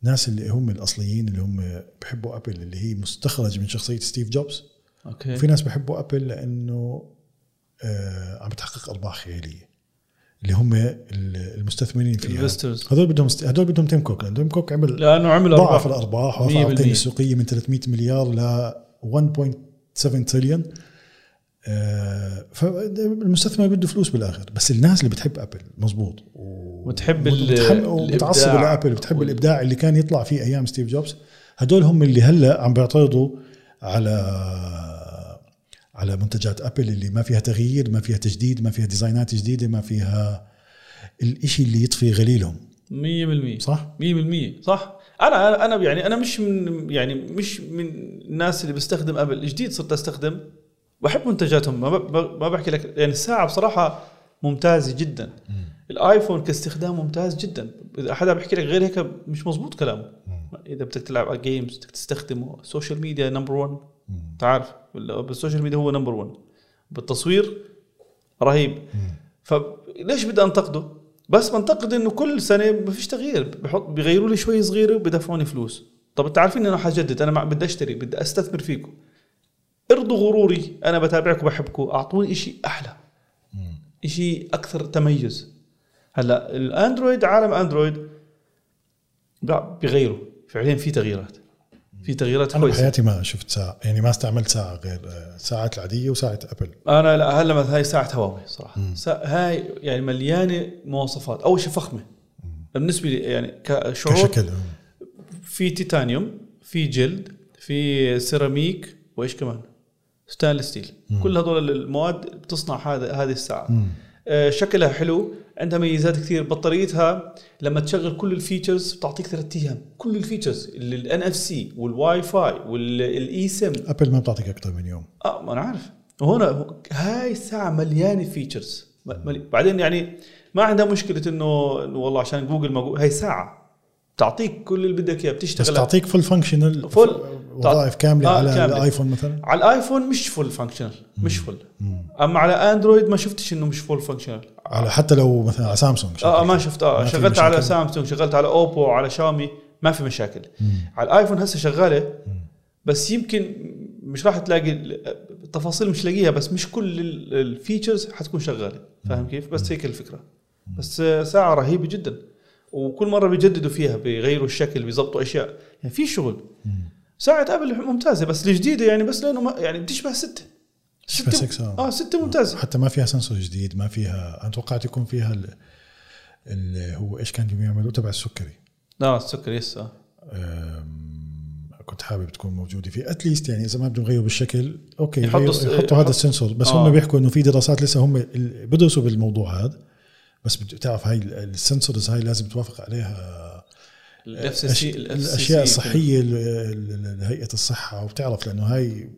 ناس اللي هم الاصليين اللي هم بحبوا ابل اللي هي مستخرج من شخصيه ستيف جوبز اوكي وفي ناس بحبوا ابل لانه آه، عم بتحقق ارباح خياليه اللي هم ال- المستثمرين فيها Investors. هذول بدهم است- هذول بدهم تيم كوك لأنه تيم كوك عمل لانه عمل ضاعف ارباح الارباح 100% ورفع القيمه السوقيه من 300 مليار ل 1.7 تريليون آه، فالمستثمر بده فلوس بالاخر بس الناس اللي بتحب ابل مزبوط و- وتحب ال- وبتحب- وبتعصب الإبداع على ابل بتحب وال- الابداع اللي كان يطلع فيه ايام ستيف جوبز هدول هم اللي هلا عم بيعترضوا على على منتجات ابل اللي ما فيها تغيير ما فيها تجديد ما فيها ديزاينات جديده ما فيها الإشي اللي يطفي غليلهم 100% صح 100% صح انا انا انا يعني انا مش من يعني مش من الناس اللي بستخدم ابل جديد صرت استخدم بحب منتجاتهم ما, ب- ب- ما بحكي لك يعني الساعه بصراحه ممتازه جدا الايفون كاستخدام ممتاز جدا اذا حدا بحكي لك غير هيك مش مزبوط كلامه اذا بدك تلعب على جيمز بدك تستخدمه السوشيال ميديا نمبر 1 انت عارف بال- بالسوشيال ميديا هو نمبر 1 بالتصوير رهيب فليش بدي انتقده؟ بس بنتقد انه كل سنه ما فيش تغيير بحط بيغيروا لي شوي صغيره وبدفعوني فلوس طب انت عارفين انه حجدد انا مع- بدي اشتري بدي استثمر فيكم ارضوا غروري انا بتابعكم بحبكم اعطوني إشي احلى إشي اكثر تميز هلا الاندرويد عالم اندرويد لا، بيغيروا فعليا في تغييرات في تغييرات انا كويسه بحياتي ما شفت ساعه يعني ما استعملت ساعه غير آه، ساعات العاديه وساعه ابل انا لا هلا مثلا هاي ساعه هواوي صراحه سا هاي يعني مليانه مواصفات اول شيء فخمه بالنسبه لي يعني كشعور كشكل آه. في تيتانيوم في جلد في سيراميك وايش كمان ستانلس ستيل كل هذول المواد بتصنع هذا هذه الساعه آه، شكلها حلو عندها ميزات كثير بطاريتها لما تشغل كل الفيتشرز بتعطيك ثلاث ايام كل الفيتشرز الان اف سي والواي فاي E والاي سم ابل ما بتعطيك اكثر من يوم اه ما انا عارف هنا هاي الساعه مليانه فيتشرز بعدين يعني ما عندها مشكله انه إنه والله عشان جوجل ما جو- هاي ساعه تعطيك كل اللي بدك اياه بس بتشتغل تعطيك فول فانكشنال فول- وظائف كامله آه، على كاملة. الايفون مثلا على الايفون مش فول فانكشنال مش فول اما على اندرويد ما شفتش انه مش فول فانكشنال على حتى لو مثلا على سامسونج اه آه، ما شفت اه ما في شغلت مشاكل. على سامسونج شغلت على اوبو على شاومي ما في مشاكل على الايفون هسه شغاله بس يمكن مش راح تلاقي ال- التفاصيل مش لاقيها بس مش كل ال- الفيتشرز حتكون شغاله فاهم كيف بس هيك الفكره بس آه، ساعه رهيبه جدا وكل مره بيجددوا فيها بيغيروا الشكل بيظبطوا اشياء يعني في شغل ساعه ابل ممتازه بس الجديده يعني بس لانه ما يعني بتشبه سته تشبه سكس، آه. اه سته ممتازه حتى ما فيها سنسور جديد ما فيها انا توقعت يكون فيها ال- ال- هو ايش كان بيعملوه تبع السكري لا السكر يس آه. أم، كنت حابب تكون موجوده فيه اتليست يعني اذا ما بدهم يغيروا بالشكل اوكي يحطوا يحطوا, س- يحطوا هذا يحط- السنسور بس آه. هم بيحكوا انه في دراسات لسه هم ال- بدرسوا بالموضوع هذا بس بت- بتعرف هاي ال- السنسورز هاي لازم توافق عليها ال أش- FCC ال FCC الاشياء الصحيه ال- ال- ال- هيئه الصحه وبتعرف لانه هاي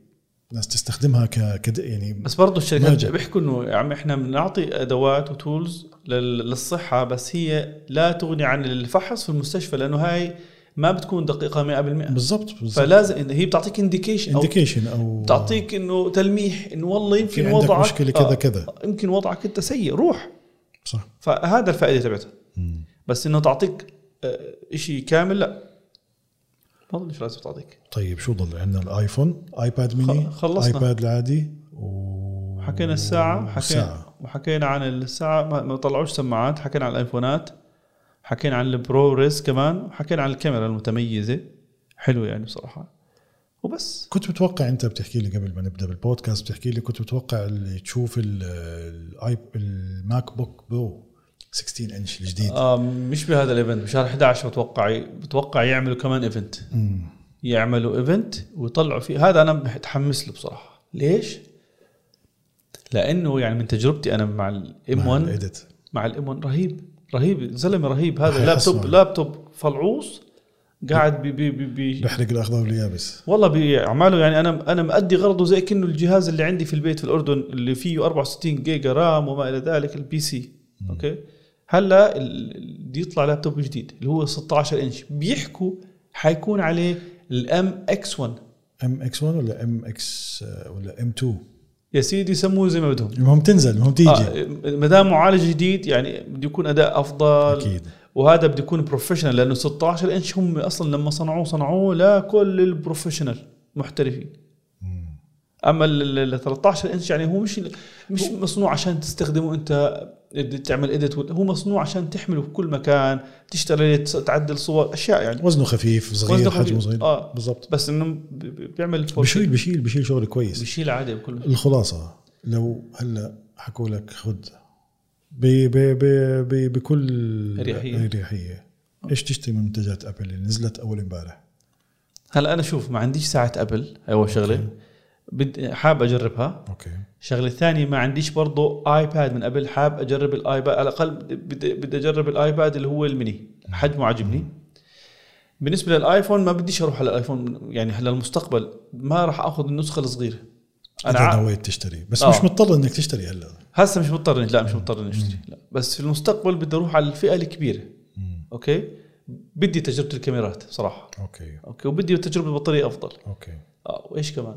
ناس تستخدمها ك كد- يعني بس برضه الشركات ماجد. بيحكوا انه يا عم احنا بنعطي ادوات وتولز لل- للصحه بس هي لا تغني عن الفحص في المستشفى لانه هاي ما بتكون دقيقه 100% بالضبط بالضبط فلازم إن هي بتعطيك انديكيشن او انديكيشن او بتعطيك انه تلميح انه والله يمكن في عندك وضعك مشكله كذا كذا آه، يمكن وضعك انت سيء روح صح فهذا الفائده تبعتها مم. بس انه تعطيك شيء كامل لا ما اظن لازم تعطيك طيب شو ضل عندنا الايفون ايباد ميني خ- خلصنا. ايباد العادي و حكينا الساعة حكينا الساعة. وحكينا عن الساعة ما ما طلعوش سماعات حكينا عن الايفونات حكينا عن البرو ريس كمان وحكينا عن الكاميرا المتميزة حلوة يعني بصراحة وبس كنت متوقع انت بتحكي لي قبل ما نبدا بالبودكاست بتحكي لي كنت متوقع اللي تشوف ال- الاي الماك بوك برو 16 انش الجديد آه مش بهذا الايفنت بشهر 11 بتوقع بتوقع يعملوا كمان ايفنت مم. يعملوا ايفنت ويطلعوا فيه هذا انا متحمس له بصراحة ليش؟ لانه يعني من تجربتي انا مع الام مع 1 الإيديت. مع الام 1 رهيب رهيب زلمه رهيب هذا راح لابتوب يحصل. لابتوب فلعوص قاعد بي بي بي بي بحرق الاخضر واليابس والله بيعمله يعني انا انا مأدي غرضه زي كأنه الجهاز اللي عندي في البيت في الاردن اللي فيه 64 جيجا رام وما الى ذلك البي سي اوكي هلا ال- ال- بده يطلع لابتوب جديد اللي هو 16 انش بيحكوا حيكون عليه الام اكس 1 ام اكس 1 ولا ام اكس ولا ام 2 يا سيدي سموه زي ما بدهم المهم تنزل المهم تيجي آه. آه ما دام معالج جديد يعني بده يكون اداء افضل أكيد. وهذا بده يكون بروفيشنال لانه 16 انش هم اصلا لما صنعوه صنعوه لكل البروفيشنال محترفين اما ال 13 انش يعني هو مش مش مصنوع عشان تستخدمه انت بدك تعمل اديت هو مصنوع عشان تحمله في كل مكان تشتغل عليه، تس- تعدل صور اشياء يعني وزنه خفيف وزنه صغير خفيف. حجمه صغير آه. بالضبط بس انه ب- ب- بيعمل 4K. بشيل بشيل بشيل شغل كويس بشيل عادي بكل الخلاصه لو هلا حكوا لك خذ ب- ب- ب- ب- بكل أريحية. اريحيه ايش تشتري من منتجات ابل اللي نزلت اول امبارح؟ هلا انا شوف ما عنديش ساعه ابل هاي اول شغله بد- حاب اجربها اوكي الشغله الثانيه ما عنديش برضو ايباد من قبل حاب اجرب الايباد على الاقل بدي بدي اجرب الايباد اللي هو الميني حجمه عاجبني بالنسبه للايفون ما بديش اروح على الايفون يعني هلا المستقبل ما راح اخذ النسخه الصغيره انا انا ع- نويت تشتري بس آه. آه. مش مضطر انك تشتري هلا هسه مش مضطر إني- لا مش مضطر إني اشتري لا بس في المستقبل بدي اروح على الفئه الكبيره اوكي بدي تجربه الكاميرات صراحه اوكي اوكي وبدي تجربه البطاريه افضل اوكي اه وايش كمان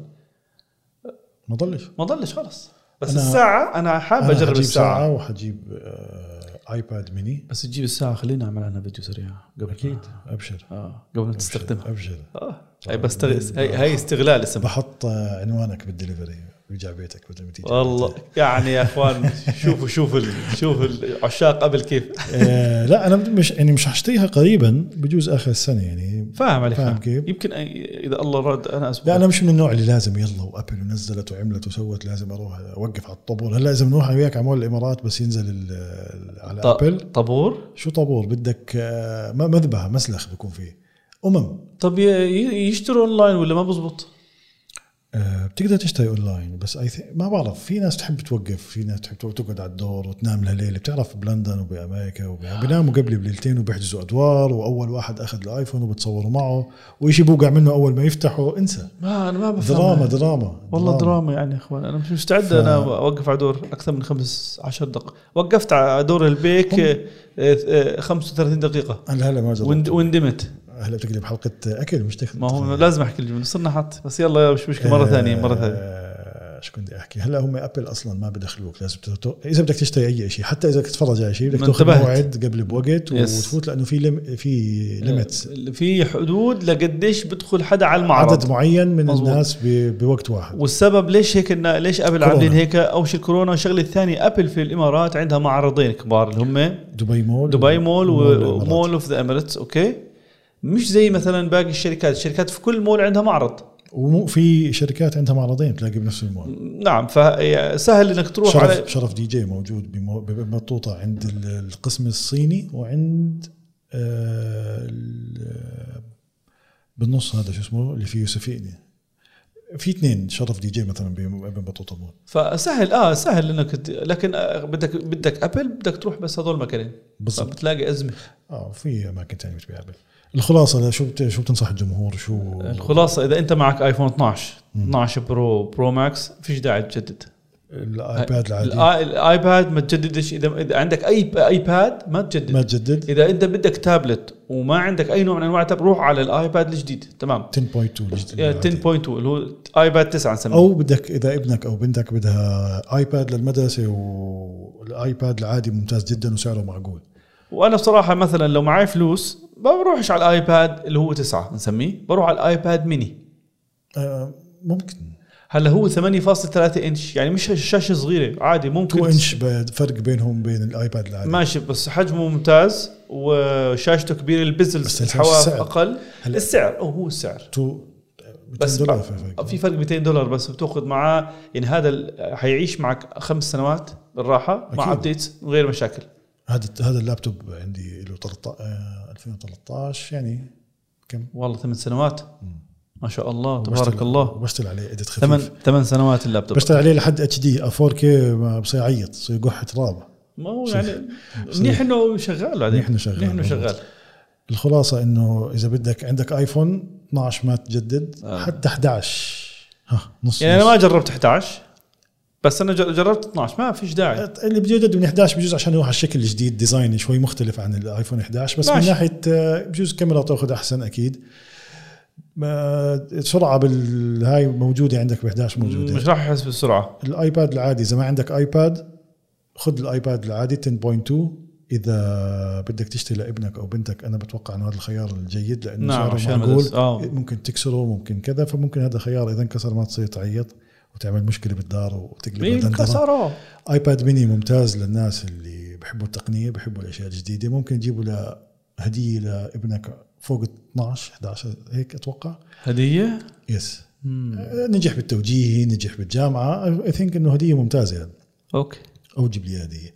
ما ضلش ما ضلش خلص بس أنا- الساعه انا حابب أنا اجرب حجيب الساعه ساعه وحجيب آه ايباد ميني بس تجيب الساعة خلينا نعمل عنها فيديو سريع قبل اكيد ما- ابشر اه قبل ما تستخدمها ابشر اه هاي بس تغ- هاي هاي استغلال اسمها بحط آه، عنوانك بالدليفري بيجي على بيتك بدل ما تيجي والله يعني يا اخوان شوفوا شوفوا ال- شوفوا العشاق قبل كيف آه لا انا مش يعني مش حشتريها قريبا بجوز اخر السنه يعني فاهم علي فاهم فاهم كيف؟ يمكن أي- اذا الله راد انا لا اسبوع انا مش من النوع اللي لازم يلا وابل ونزلت وعملت وسوت لازم اروح اوقف على الطابور هلا لازم نروح انا وياك على مول الامارات بس ينزل ال- ال- على ط- ابل طابور شو طابور بدك آه، ما مذبحه مسلخ بيكون فيه امم طب ي- ي- يشتروا اونلاين ولا ما بزبط آه، بتقدر تشتري اونلاين بس I think- ما بعرف في ناس تحب توقف في ناس تحب تقعد على الدور وتنام لها ليله بتعرف بلندن وبامريكا آه. وب- بيناموا قبلي بليلتين وبيحجزوا ادوار واول واحد اخذ الايفون وبتصوروا معه وإشي بوقع منه اول ما يفتحه انسى ما انا ما بفهم دراما دراما والله دراما يعني يا اخوان انا مش مستعد ف- انا اوقف على دور اكثر من خمس عشر دقائق وقفت على دور البيك آه، آه، آه، 35 دقيقه انا هلا ما وند- جربت وندمت هلا بتقلب حلقه اكل مش تخ- ما هو لازم احكي الجمله صرنا حط بس يلا مش مشكله مره آه، ثانيه مره ثانيه آه، شو كنت بدي احكي هلا هم ابل اصلا ما بدخلوك لازم تتو... اذا بدك تشتري اي شيء حتى اذا بدك تتفرج على شيء بدك ما تاخذ انتبهت. موعد قبل بوقت يس. وتفوت لانه في لم... في ليميتس آه، في حدود لقديش بدخل حدا على المعرض عدد معين من مظبوط. الناس ب... بوقت واحد والسبب ليش هيك إن ليش ابل كورونا. عاملين هيك اول شيء الكورونا والشغله الثانيه ابل في الامارات عندها معرضين كبار اللي هم دبي مول دبي مول والإمارات. ومول اوف ذا اميريتس اوكي مش زي مثلا باقي الشركات الشركات في كل مول عندها معرض ومو في شركات عندها معرضين تلاقي بنفس المول نعم فسهل انك تروح شرف على شرف دي جي موجود بمو... بمطوطه عند ال- القسم الصيني وعند آه ال- بالنص هذا شو اسمه اللي فيه يوسفيني في اثنين شرف دي جي مثلا بم- بمطوطه مول فسهل اه سهل انك ت- لكن آه، بدك بدك ابل بدك تروح بس هذول المكانين بالضبط. بتلاقي ازمه اه في اماكن ثانيه بتبيع بال- الخلاصه لا، شو بت... شو بتنصح الجمهور شو الخلاصه اذا انت معك ايفون 12 12 برو برو ماكس فيش داعي تجدد الايباد آه، العادي الآي- الايباد ما تجددش اذا اذا عندك اي ايباد ما تجدد ما تجدد اذا انت بدك تابلت وما عندك اي نوع من انواع التابلت روح على الايباد الجديد تمام 10.2 الجديد آه، 10.2 العادي. اللي هو ايباد 9 نسميه او بدك اذا ابنك او بنتك بدها ايباد للمدرسه والايباد العادي ممتاز جدا وسعره معقول وانا بصراحه مثلا لو معي فلوس ما بروحش على الايباد اللي هو 9 نسميه بروح على الايباد ميني آه، ممكن هلا هو 8.3 انش يعني مش شاشه صغيره عادي ممكن 2 انش ب- فرق بينهم بين الايباد العادي ماشي بس حجمه ممتاز وشاشته كبيره بس البزلز الفرق الحواف السعر. اقل هلا- السعر أو هو السعر 2 بس بس دولار بقى- في فرق في فرق 200 دولار بس بتاخذ معاه يعني هذا ال- حيعيش معك خمس سنوات بالراحه مع أكيد. ابديتس من غير مشاكل هذا هذا اللابتوب عندي له 13 آه، 2013 يعني كم والله ثمان سنوات ما شاء الله وبشتغل- تبارك الله وبشتغل عليه اديت خفيف ثمان ثمان سنوات اللابتوب بشتغل عليه لحد اتش دي 4 كي بصير يعيط بصير يقح تراب ما هو يعني منيح انه شغال بعدين منيح إنه شغال، منيح انه بالضبط. شغال الخلاصه انه اذا بدك عندك ايفون 12 ما تجدد آه. حتى 11 ها نص يعني انا نص. ما جربت 11 بس انا جر- جربت 12 ما فيش داعي اللي بيوجد من 11 بجوز عشان يروح على الشكل الجديد ديزاين شوي مختلف عن الايفون 11 بس ماشي. من ناحيه آه، بجوز كاميرا تاخذ احسن اكيد ما- السرعه بالهاي موجوده عندك ب 11 موجوده مش راح احس بالسرعه الايباد العادي اذا ما عندك ايباد خذ الايباد العادي 10.2 اذا بدك تشتري لابنك او بنتك انا بتوقع انه هذا الخيار الجيد لانه نعم، نعم عشان سعره معقول مدرسة. آه. ممكن تكسره ممكن كذا فممكن هذا خيار اذا انكسر ما تصير تعيط وتعمل مشكله بالدار وتقلب دندره انكسروا ايباد ميني ممتاز للناس اللي بحبوا التقنيه بحبوا الاشياء الجديده ممكن تجيبوا له هديه لابنك فوق 12 11 هيك اتوقع هديه يس مم. نجح بالتوجيه نجح بالجامعه اي ثينك انه هديه ممتازه يعني. اوكي او جيب لي هديه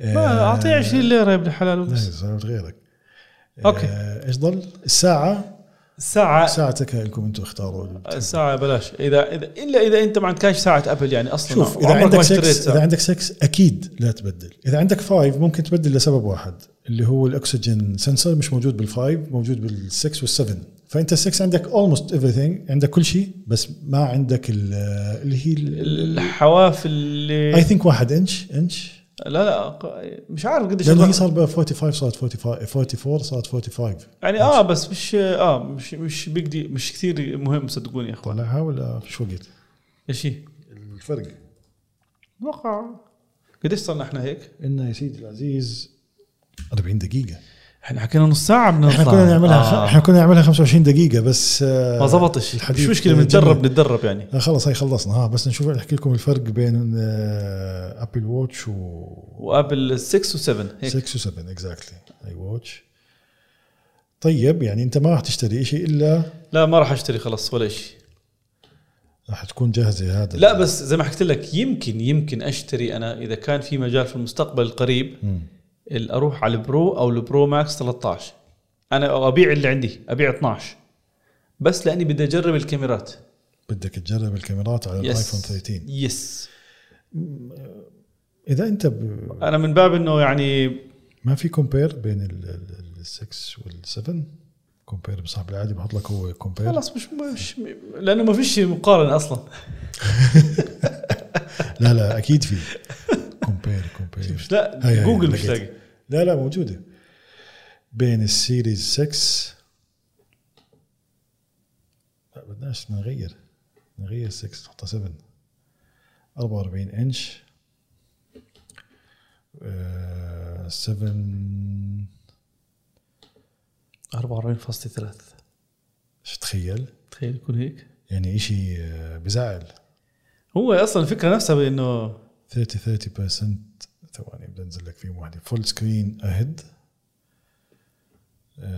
آه، ما اعطيه 20 ليره يا ابن الحلال وبس صارت غيرك أوكي. آه. آه، ايش ضل؟ الساعه الساعه ساعتك لكم انتم اختاروا الساعه بلاش اذا اذا الا اذا انت ما عندكش ساعه ابل يعني اصلا شوف اذا عمرك عندك ما اشتريت سكس اذا ساعه عندك سكس اكيد لا تبدل اذا عندك فايف ممكن تبدل لسبب واحد اللي هو الاكسجين سنسور مش موجود بالفايف موجود بالسكس والسفن فانت السكس عندك اولموست everything عندك كل شيء بس ما عندك ال- اللي هي الحواف اللي اي ثينك واحد انش انش لا لا ق- مش عارف قديش لانه هي الواحد- صار ب 45 صارت 45 44 صارت 45 يعني اه بس مش اه مش مش بيجدي مش كثير مهم صدقوني يا اخوان طلعها ولا شو وقت؟ ايش هي؟ الفرق وقع قديش صرنا احنا هيك؟ انه يا سيدي العزيز 40 دقيقة احنا حكينا نص ساعة بدنا احنا نطلع. كنا نعملها آه. احنا كنا نعملها 25 دقيقة بس آه، ما زبطش الحديث مش مشكلة جميل. بنتدرب نتدرب يعني آه، خلص هاي خلصنا ها بس نشوف نحكي لكم الفرق بين آه، ابل ووتش و وابل 6 و7 هيك 6 و 7 اكزاكتلي اي ووتش طيب يعني انت ما راح تشتري شيء الا لا ما راح اشتري خلاص ولا شيء راح تكون جاهزة هذا لا بس زي ما حكيت لك يمكن يمكن اشتري انا اذا كان في مجال في المستقبل القريب مم. ال- اروح على البرو او البرو ماكس 13 انا ابيع اللي عندي ابيع 12 بس لاني بدي اجرب الكاميرات بدك تجرب الكاميرات على الايفون 13 يس اذا انت ب... انا من باب انه يعني ما في كومبير بين ال 6 وال 7 كومبير بصاحب العادي بحط لك هو كومبير خلاص مش مش لانه ما فيش مقارنه اصلا لا لا اكيد في كومبير كومبير مش لا هاي هاي جوجل مش لقيت. لاقي لا لا موجوده بين السيريز 6 لا بدناش نغير نغير 6 نحطها 7 44 انش آه، 7 44.3 شو تخيل تخيل يكون هيك يعني إشي آه، بزعل هو اصلا الفكره نفسها بانه 30 30 ثواني بدي انزل لك فيهم واحده فول سكرين اهيد Uh,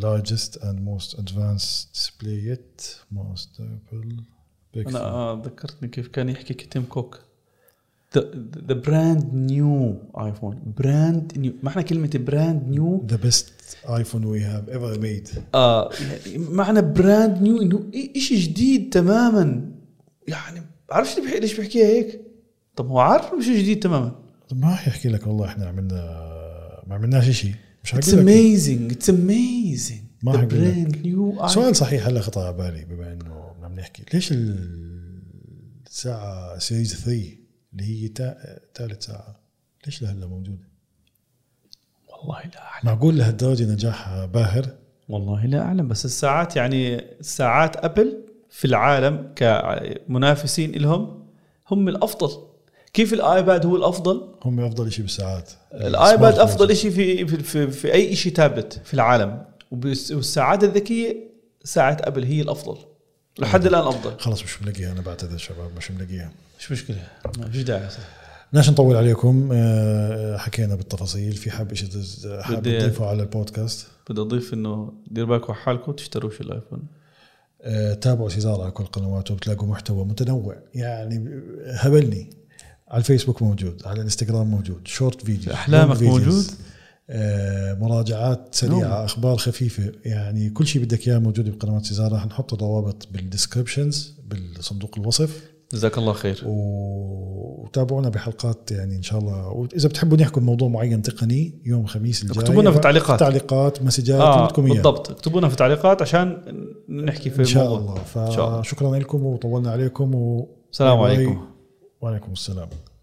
largest and most advanced display yet most stable انا pixel آه ذكرتني كيف كان يحكي تيم كوك ذا براند نيو ايفون براند نيو معنى كلمه براند نيو the best iPhone we have ever made آه يعني معنى براند نيو انه إي- إشي جديد تماما يعني بعرفش ليه بحكي- ليش بحكيها هيك طب هو عارف إنه شيء جديد تماما طب ما راح يحكي لك والله احنا عملنا ما عملناش شيء مش اتس حقول لك اميزنج اتس اميزنج ما ذا حقول لك. براند نيو سؤال صحيح هلا خطا على بالي بما انه عم نحكي ليش ال- الساعه سيريز 3 اللي هي ثالث ساعه ليش لهلا موجوده؟ والله لا اعلم معقول لهالدرجه نجاحها باهر والله لا اعلم بس الساعات يعني ساعات ابل في العالم كمنافسين لهم هم الافضل كيف الايباد هو الافضل هم افضل شيء بالساعات الايباد السمارت افضل ووتش. شيء في في, في في اي شيء تابلت في العالم وبس- والساعات الذكيه ساعه ابل هي الافضل لحد الان افضل خلص مش ملاقيها انا بعتذر شباب مش ملاقيها مش مشكله ما فيش داعي بدناش نطول عليكم آه، حكينا بالتفاصيل في حاب شيء تز- حاب بدي- تضيفه على البودكاست بدي اضيف انه دير بالكم على حالكم تشتروش الايفون آه، تابعوا سيزار على كل قنواته بتلاقوا محتوى متنوع يعني هبلني على الفيسبوك موجود على الانستغرام موجود شورت فيديو أحلامك موجود؟ آه، مراجعات سريعه نعم. اخبار خفيفه يعني كل شيء بدك اياه موجود بقنوات سيزار رح نحط الروابط بالديسكربشنز بالصندوق الوصف جزاك الله خير و- وتابعونا بحلقات يعني ان شاء الله واذا بتحبوا نحكي بموضوع معين تقني يوم الخميس الجاي اكتبوا لنا في التعليقات. تعليقات مسجات اللي اه بدكم اياه بالضبط اكتبونا في تعليقات عشان نحكي في ان شاء الموضوع. الله إن شاء الله. فشكرا لكم وطولنا عليكم و... السلام عليكم. وعليكم السلام